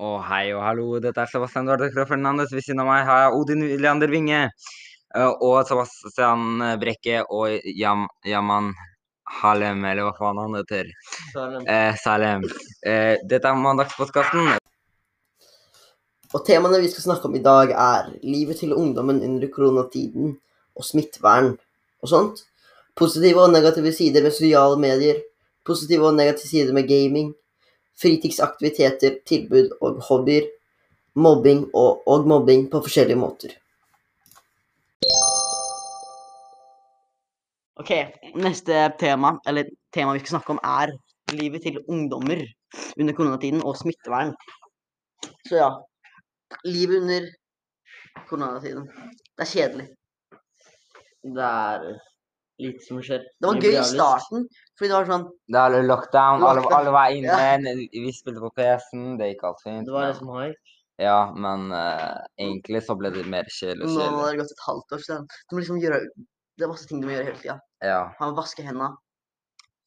Å, hei og hallo. Dette er Sebastian Duarte Fernandes. Ved siden av meg har jeg Odin Leander Winge. eh, Og Sebastian eh, Brekke og Yam Yaman Halem, eller hva faen han heter. Eh, Salem. Eh, dette er Mandagspodkasten. Og temaene vi skal snakke om i dag er livet til ungdommen under koronatiden og smittevern og sånt. Positive og negative sider med sosiale medier. Positive og negative sider med gaming. Fritidsaktiviteter, tilbud og hobbyer. Mobbing og, og mobbing på forskjellige måter. Ok, neste tema, eller tema vi skal snakke om er livet til ungdommer under koronatiden og smittevern. Så ja, livet under koronatiden. Det er kjedelig. Det er lite som skjer. Det var Livet gøy er i lyst. starten, fordi det var sånn Det er lockdown, alle, Lockdown, alle var inne. Vi spilte på PC-en, det gikk alt fint. Det var liksom hype. Ja, men eh, egentlig så ble det mer kjedelig og Nå har kjedelig. det gått et halvt år siden. Du må liksom gjøre Det er masse ting du må gjøre hele tida. Ja. Ha med å vaske henda.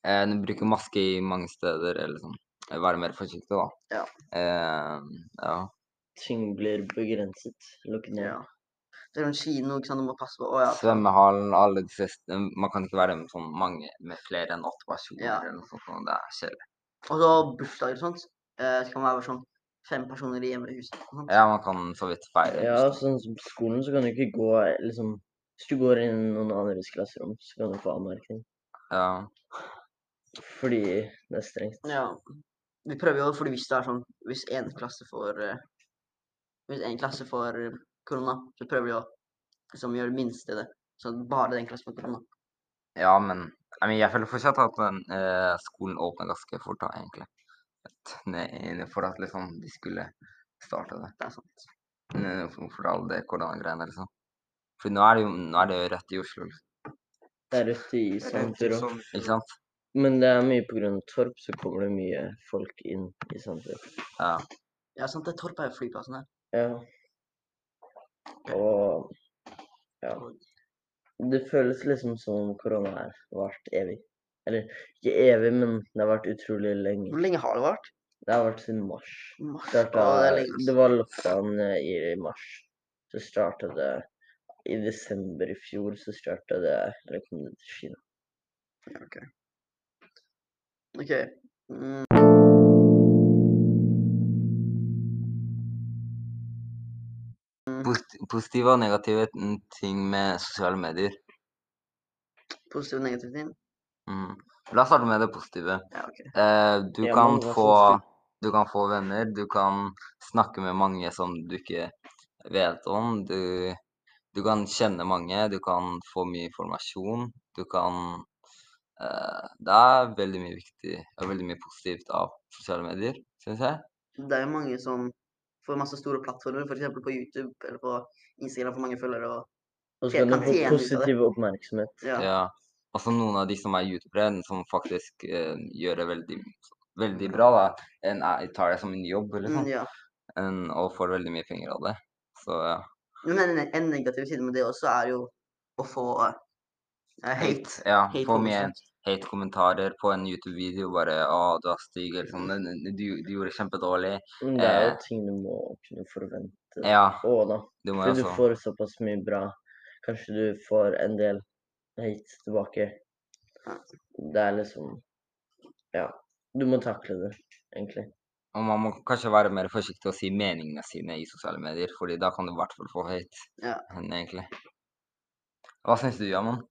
Eh, du bruker maske i mange steder, eller sånn. Eh, Være mer forsiktig, da. Ja. Eh, ja. Ting blir begrenset. Lukket ned. Ja. Det er sånn kino, ikke sant. Du må passe på. Å ja. Svømmehallen, alle de siste mm, Man kan ikke være med sånn mange med flere enn åtte personer. Ja. eller noe sånt, og Det er kjedelig. Og så bursdager og sånt. Eh, så kan man være sånn fem personer i hjemmehuset. og sånt. Ja, man kan så vidt feire. liksom. Ja, liksom bursdag. sånn som på skolen så kan du ikke gå liksom Hvis du går inn i noen andres klasserom, så kan du få anmerkning. Ja. Fordi det er strengt. Ja. Vi prøver jo, fordi hvis det er sånn Hvis én klasse får eh, Hvis én klasse får eh, korona, så prøver vi å liksom gjøre det minste i det. Så bare den klassen får korona. ja, men jeg, men jeg føler fortsatt at den, eh, skolen åpna ganske fort, da, egentlig. Et- ne- For at liksom de skulle starte det. Det er sant. Ne- For for alle de koronagreiene, liksom. For nå er det jo nå er det jo rett i Oslo, liksom. Det er rødt i Sandtur òg. ikke sant? Men det er mye på grunn av Torp, så kommer det mye folk inn i Sandtur. Ja. Ja, sant. Det er Torp er jo flyplassen her. Ja. Og ja. Det føles liksom som korona har vært evig. Eller ikke evig, men det har vært utrolig lenge. Hvor lenge har det vært? Det har vært siden mars. Mars. Starta, Å, det er lenge. det var lockdown eh, i mars. Så starta det I desember i fjor så starta det Eller kom det til Kina. Ja, ok. Ok. Mm. Mm. Posit- Positive og negative ting med sosiale medier. Positiv og negativ ting? Mm. La oss starte med det positive. Ja, ok. Eh, du, Ja, kan men hva få, syns du kan få venner, du kan snakke med mange som du ikke vet om. Du, du kan kjenne mange, du kan få mye informasjon. Du kan eh, Det er veldig mye viktig og veldig mye positivt av sosiale medier, syns jeg. Det er jo mange som får masse store plattformer, f.eks. på YouTube eller på Instagram for mange følgere. og Og Jeg så kan kan du få tjene ut av det. positiv oppmerksomhet. ja. Ja. Også noen av de som er youtubere, som faktisk eh, gjør det veldig, veldig bra. da. En er, tar det som en jobb eller Mm, sånn, ja. en, og får veldig mye penger av det. Så ja. Men en, en negativ side med det også er jo å få eh, hate. Ja, Hate få comments, mye sant? hate-kommentarer på en YouTube-video. Bare 'Å, du er stygg', eller sånn. «Nei, nei, Du, du gjorde det kjempedårlig. Men det er jo Eh. ting du må kunne forvente. Ja, Og da. du må jo Fordi du også får såpass mye bra. Kanskje du får en del hate tilbake. Ja. Det er liksom Ja. Du må takle det, egentlig. Og man må kanskje være mer forsiktig og si meningene sine i sosiale medier, fordi da kan du i hvert fall få hate. Ja. Men egentlig. Hva syns du, Jamon?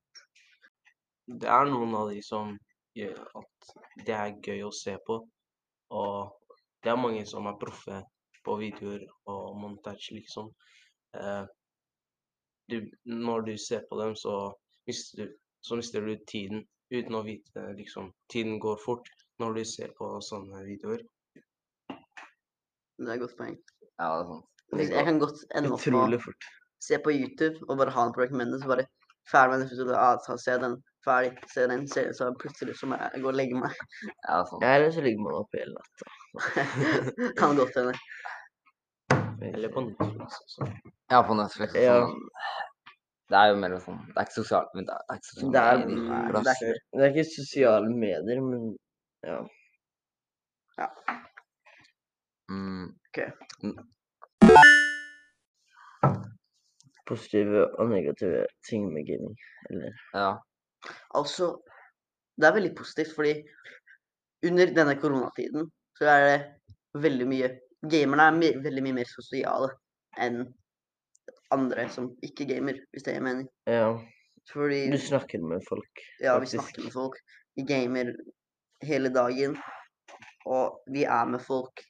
det er noen av de som gjør at det er gøy å se på. Og det er mange som er proffe på videoer og montasje, liksom. Eh, du, når du ser på dem, så mister, du- så mister du tiden uten å vite liksom Tiden går fort når du ser på sånne videoer. Det er et godt poeng. Ja, det er sånn. Hvis Jeg kan godt ende opp med Utrolig å fort. se på YouTube og bare ha den på recommended, så bare ferdig med den episode, ah, ta, se den, ferdig, se den, se, så plutselig så må jeg gå og legge meg. Ja, det er sånn. Ja, Eller så ligger man oppe hele natta. kan godt hende. Eller på Netflix altså. også. ja på Netflix. Ja. Sånn, det er jo mer sånn Det er ikke sosialt, men det er, det er ikke sosialt. Det er, Nei, det, er ikke, det er ikke sosiale medier, men ja. Mm, Positive og negative ting med gaming. ja. Altså, det er veldig positivt, fordi under denne koronatiden så er det veldig mye Gamerne er my veldig mye mer sosiale enn andre som ikke gamer, hvis det gir mening. Ja, Fordi du snakker med folk. ja, vi faktisk. snakker med folk, vi gamer hele dagen, og vi er med folk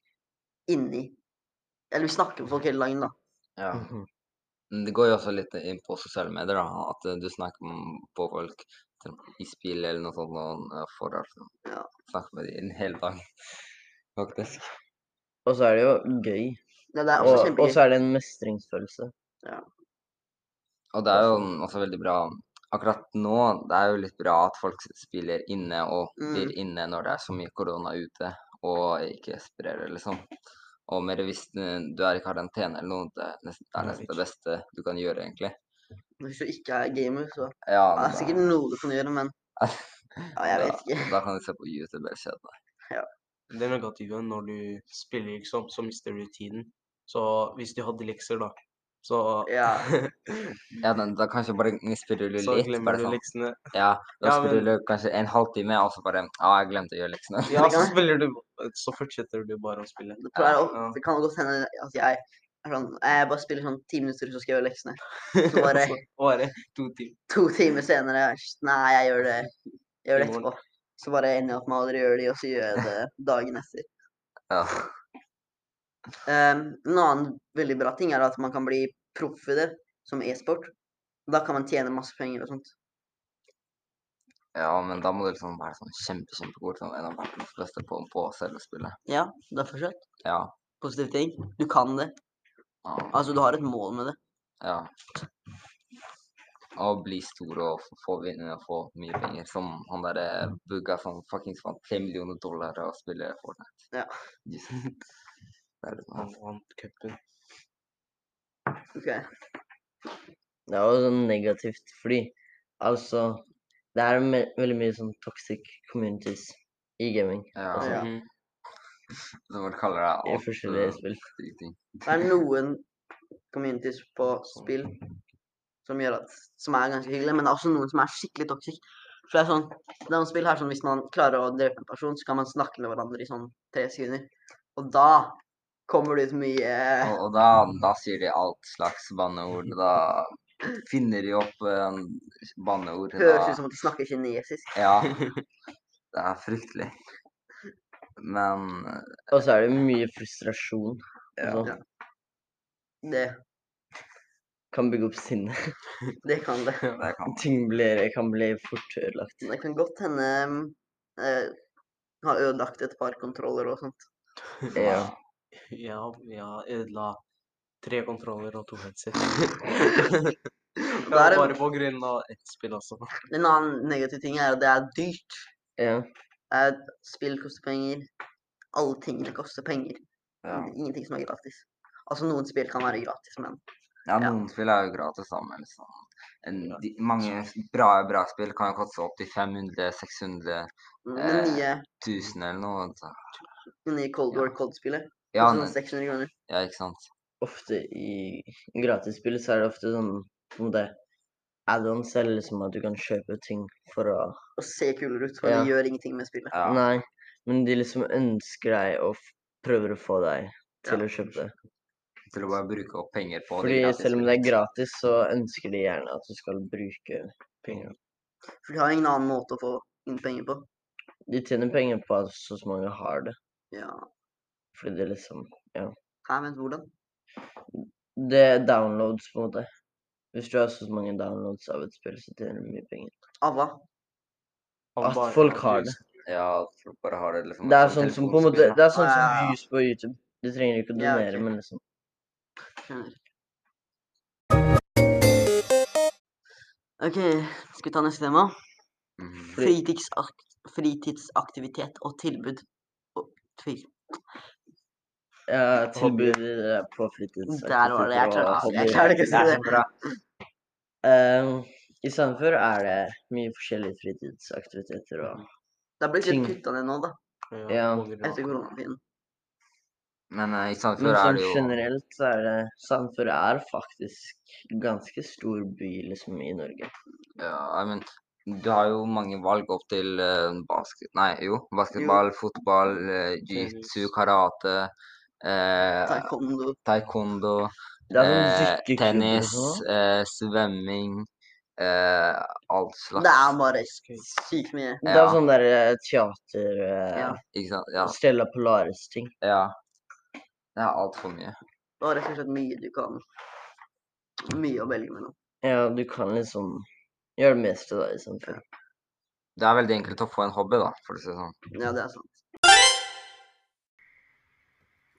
inni Eller vi snakker med folk hele dagen, da. ja. Mhm. Men Mm, Det går jo også litt inn på sosiale medier, da. At eh, du snakker med- på folk til- i spill eller noe sånt, og eh, får altså Ja. snakke med dem en hel dag, faktisk. Og så er det jo gøy. Ja, det er Og, også og kjempegøy. så er det en mestringsfølelse. Og det er jo også veldig bra Akkurat nå det er jo litt bra at folk spiller inne og blir Mm. inne når det er så mye korona ute, og ikke sprer det, liksom. Og mer hvis eh, du er i karantene eller noe, det er nesten, det, er Ja, nesten det beste du kan gjøre, egentlig. Hvis du ikke er gamer, så Ja, ja, det da- er sikkert noe du kan gjøre, men ja, jeg vet ikke. Da, da kan du se på YouTube eller kjede deg. Det negative når du spiller, liksom, så mister du tiden. Så hvis du hadde lekser, da, så Ja. Ja, da, da kanskje bare spiller du Så litt. glemmer Bare du sånn. leksene. Ja, da Ja, spiller men- du kanskje en halvtime, og så bare Ja, jeg glemte å gjøre leksene. Ja, så kan- spiller du Så fortsetter du bare å spille. Det, pleier, å- Ja. det kan godt hende at jeg er sånn Jeg bare spiller sånn ti minutter, så skal jeg gjøre leksene. Så bare Så bare to timer. to timer senere «Sj, Nei, jeg gjør det, jeg gjør det I morgen. etterpå. Så bare ender jeg opp med å aldri gjøre de, og så gjør jeg det dagen etter. Ja. Um, en annen veldig bra ting er at man kan bli proff i det, som e-sport. Da kan man tjene masse penger og sånt. ja, men da må du liksom være sånn kjempe, kjempegod. Sånn en av verdens beste på, på selve spillet. Ja, det er fortsatt Ja. positive ting. Du kan det. ja, Altså, du har et mål med det. Ja. Og bli stor og f- få vinne og få mye penger. Som han derre Bugga som fuckings vant tre millioner dollar og spiller Fortnite. Ja. Jesus. Det er litt sånn. Han vant cupen. Ok. Det er jo sånn negativt, fordi altså Det er me veldig mye sånn toxic communities i gaming. Ja. Altså, Ja. Mm. Som man kaller det. I alt, forskjellige eh, spill. stygge ting. Det er noen communities på spill som, gjør at, som er ganske hyggelige, men det er også noen som er skikkelig toxic. For det er sånn, det er noen spill her som hvis man klarer å drepe en person, så kan man snakke med hverandre i sånn tre sekunder. Og da kommer det ut mye Og, og da, da sier de alt slags banneord. Da finner de opp eh, banneord. Høres da- ut som at de snakker kinesisk. Ja. Det er fryktelig. Men eh, Og så er det mye frustrasjon. Altså, Ja. Det, Kan bygge opp sinne. det kan det. det kan Ting blir, kan bli fort ødelagt. Det kan godt hende mm, eh, ha ødelagt et par kontroller og sånt. Ja. Ja, jeg har ødela tre kontroller og to headset. Da er Ja, det- bare på grunn av ett spill altså. også. En annen negativ ting er at det er dyrt. ja. Eh, Spill koster penger. Alle tingene koster penger. ja. Ingenting som er gratis. Altså, noen spill kan være gratis, men ja, Ja. noen spill er jo gratis, da, men liksom en- de, Mange s- bra, bra spill kan jo koste opptil 500 600 det Eh, nye, 1000 eller noe. så- det nye Cold War Cold-spillet Ja, koster sånn men, 600 kroner. ja, ikke sant. Ofte i gratisspill så er det ofte sånn på en måte add-ons, eller liksom at du kan kjøpe ting for å Og ser kulere ut, for Ja. det gjør ingenting med spillet. Ja. Nei, men de liksom ønsker deg og f- prøver å få deg til Ja. å kjøpe det. Til å bare bruke opp penger på Fordi gratis selv om det er spillet. gratis, så ønsker de gjerne at du skal bruke penger. For de har ingen annen måte å få inn penger på. De tjener penger på at så mange har det. Ja, Fordi det liksom Hæ, men hvordan? Det er downloads, på en måte. Hvis du har så mange downloads av et spill, så tjener du mye penger. Ava. Han At bare- folk han har brus- det. Ja, folk bare har det liksom Det er sånn som på en måte telefonspill, Det er sånn Ah, som ja, ja. views på YouTube. Du trenger ikke å Ja, donere, ok. men liksom skjønner. Ok, skal vi ta neste tema? da. Mhm. Fritidsakt, fritidsaktivitet og tilbud. Og tvil. ja, tilbud eh, på Der var det. Jeg fritidsaktiviteter og klarte, jeg hobbyer. klarte ikke å si Det er det. så bra. Eh, I Sandefjord er det mye forskjellige fritidsaktiviteter og Det har blitt litt Ting. kutta ned nå, da. Ja, Ja. på grunn av- Etter koronatiden. Men eh, i Men Sandefjord er sånn det jo generelt så er det Sandefjord er faktisk ganske stor by liksom i Norge. Ja, men du har jo mange valg opp til eh, basket... Nei, jo. Basketball, fotball, eh, jiu-jitsu, Tennis. karate, eh, Taekwondo. taekwondo, Det er sånn eh, dykkerklubber og tennis, sånn. eh, svømming, eh, alt slags. Det er bare Skøy. sykt mye. Det er ja. sånn der eh, teater eh, Ja. Ikke sant? Ja. Stella Polaris-ting. ja. Det er altfor mye. Det er rett og slett mye du kan Mye å velge mellom. Ja, du kan liksom gjøre det meste da i Sandefjord. Det er veldig enkelt å få en hobby, da, for å si det sånn. Ja, det er sant.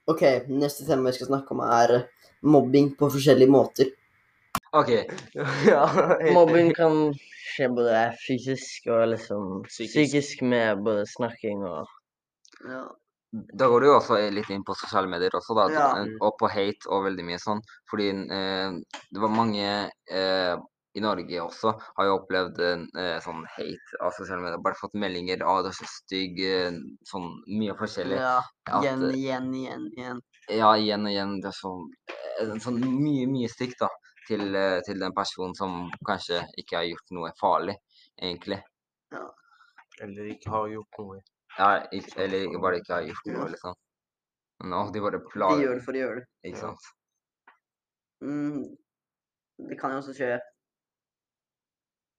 Ok, neste tema vi skal snakke om, er mobbing på forskjellige måter. OK. ja, helt Mobbing kan skje både fysisk og liksom Psykisk. psykisk, med både snakking og Ja. Da går du jo også litt inn på sosiale medier også, da. Ja. eh, Og på hate og veldig mye sånn. Fordi eh, det var mange eh, i Norge også har jo opplevd eh, sånn hate av sosiale medier. Bare fått meldinger av 'du er så stygg', eh, sånn mye forskjellig. ja. At, Igjen, eh, igjen, igjen. igjen. ja, igjen og igjen. Det er sånn, eh, sånn mye, mye stygt da, til, eh, til den personen som kanskje ikke har gjort noe farlig, egentlig. Eller ikke har gjort noe. Ja, ikke, eller ikke bare ikke har gjort noe, liksom. Men å, de bare De gjør plager, det for å gjøre det. ikke sant. Mm. Det kan jo også skje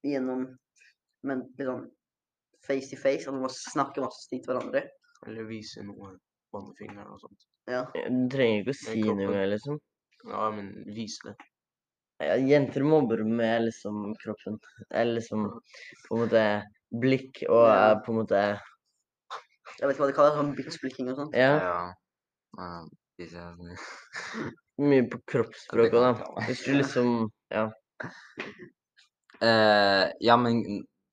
gjennom men liksom face to face, at man bare snakker masse stygt til hverandre. Eller vise noe. Bannefingeren og sånt. Ja. Du trenger ikke å si kroppen. noe mer, liksom. Ja, men vise det. Ja, jenter mobber med liksom kroppen. Eller liksom på en måte blikk og Ja. er på en måte Jeg vet ikke hva de kaller det, sånn bitch-blikking og sånt. Ja, Ja. men de ser- mye på Det kroppsspråket kan òg, jeg da. ta meg. Hvis du liksom Ja. Eh, ja, men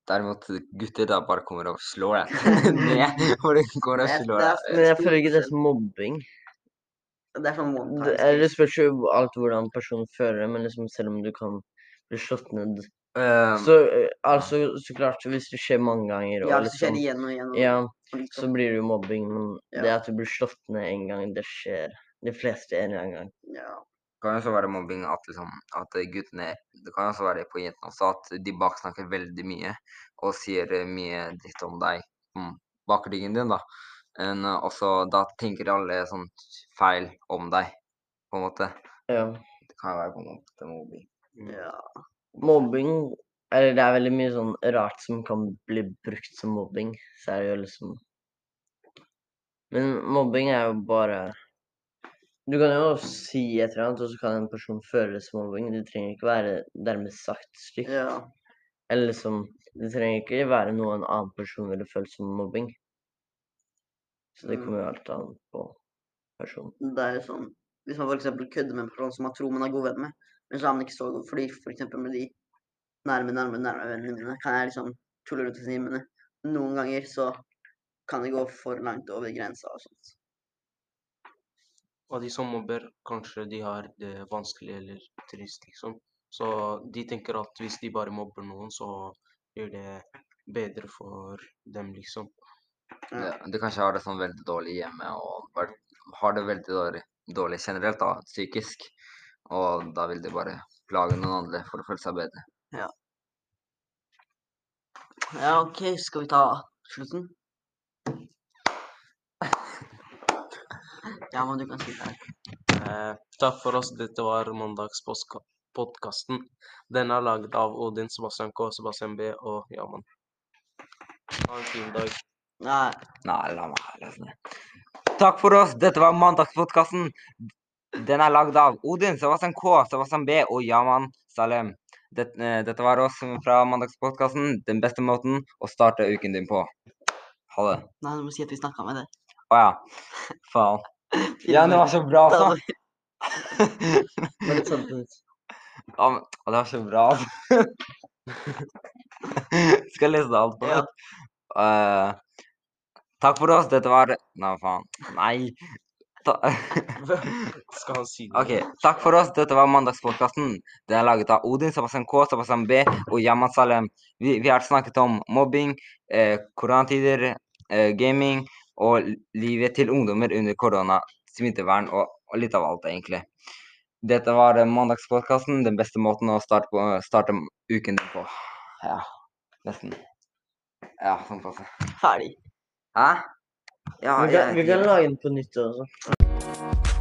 derimot gutter da bare kommer og slår deg ned. Hvor de kommer og Det er- slår det er deg. Men jeg føler ikke det er så mobbing. Det er sånn one Det, time. er- det spørs jo alt hvordan personen føler det, men liksom selv om du kan bli slått ned Um, Eh, Så eh, altså, så klart, hvis det skjer mange ganger Ja, og hvis det skjer liksom igjen og igjen. Og Ja, og litt så blir det jo mobbing, men det Ja. at du blir slått ned en gang, det skjer de fleste en eller annen gang. sånn. ja. kan jo også være mobbing at, liksom, at guttene Det kan jo også være på jentene også at de baksnakker veldig mye og sier eh, mye dritt om deg mm, bak ryggen din, da. Men eh, også da tenker alle sånn feil om deg, på en måte. Ja. Det kan være på en måte mobbing. Ja. Mm. Mobbing Eller det er veldig mye sånn rart som kan bli brukt som mobbing. Så er det jo liksom Men mobbing er jo bare Du kan jo si et eller annet, og så kan en person føle det som mobbing. Det trenger ikke være dermed sagt stygt. ja. Eller liksom Det trenger ikke være noe en annen person ville følt som mobbing. Så det Mm. kommer jo alt an på personen. Det er jo sånn Hvis man for eksempel kødder med en person som man tror man er god venn med, men så er man ikke så god fordi for eksempel med de nærme, nærme, nærme vennene mine, kan jeg liksom tulle rundt i timene. eh, Noen ganger så kan det gå for langt over grensa og sånt. Og de som mobber, kanskje de har det vanskelig eller trist, liksom. Så de tenker at hvis de bare mobber noen, så blir det bedre for dem, liksom. Ja, de kanskje har det sånn veldig dårlig hjemme og bare har det veldig dårlig, dårlig generelt, da, psykisk. Og da vil de bare plage noen andre for å føle seg bedre. Ja, OK, skal vi ta slutten? Ja, men du kan si det. Eh, takk for oss. Dette var mandagspodkasten. Den er laget av Odin, Sebastian K, Sebastian B og Jaman. Ha en fin dag. Nei. Nei, la meg lese det. Takk for oss. Dette var Mandagspodkasten. Den er lagd av Odin, Sebastian K, Sebastian B og Yaman Salem. Dette, eh, dette var oss fra Mandagspodkasten. Den beste måten å starte uken din på. Ha det. Nei, du må si at vi snakka med det. Å ja. Faen. Ja, det var så bra, altså. Men det er sant, Ja, men, å, det var så bra. altså. Skal jeg lese det alt på Ja. nytt? Eh, takk for oss. Dette var Nei, faen. Nei. Ta... Skal han si det? OK. Takk for oss. Dette var Mandagspodkasten. Den er laget av Odin, Sebastian K, Sebastian B og Yaman Salem. Vi, vi har snakket om mobbing, eh, koronatider, eh, gaming og livet til ungdommer under korona. smittevern og, og litt av alt, egentlig. Dette var eh, mandagspodkasten. Den beste måten å starte, på, eh, starte uken din på. Ja, nesten. Ja, sånn passe. Ferdig. Hæ? Ah, Ja, Vi kan, vi jeg- kan lage den på nytt også.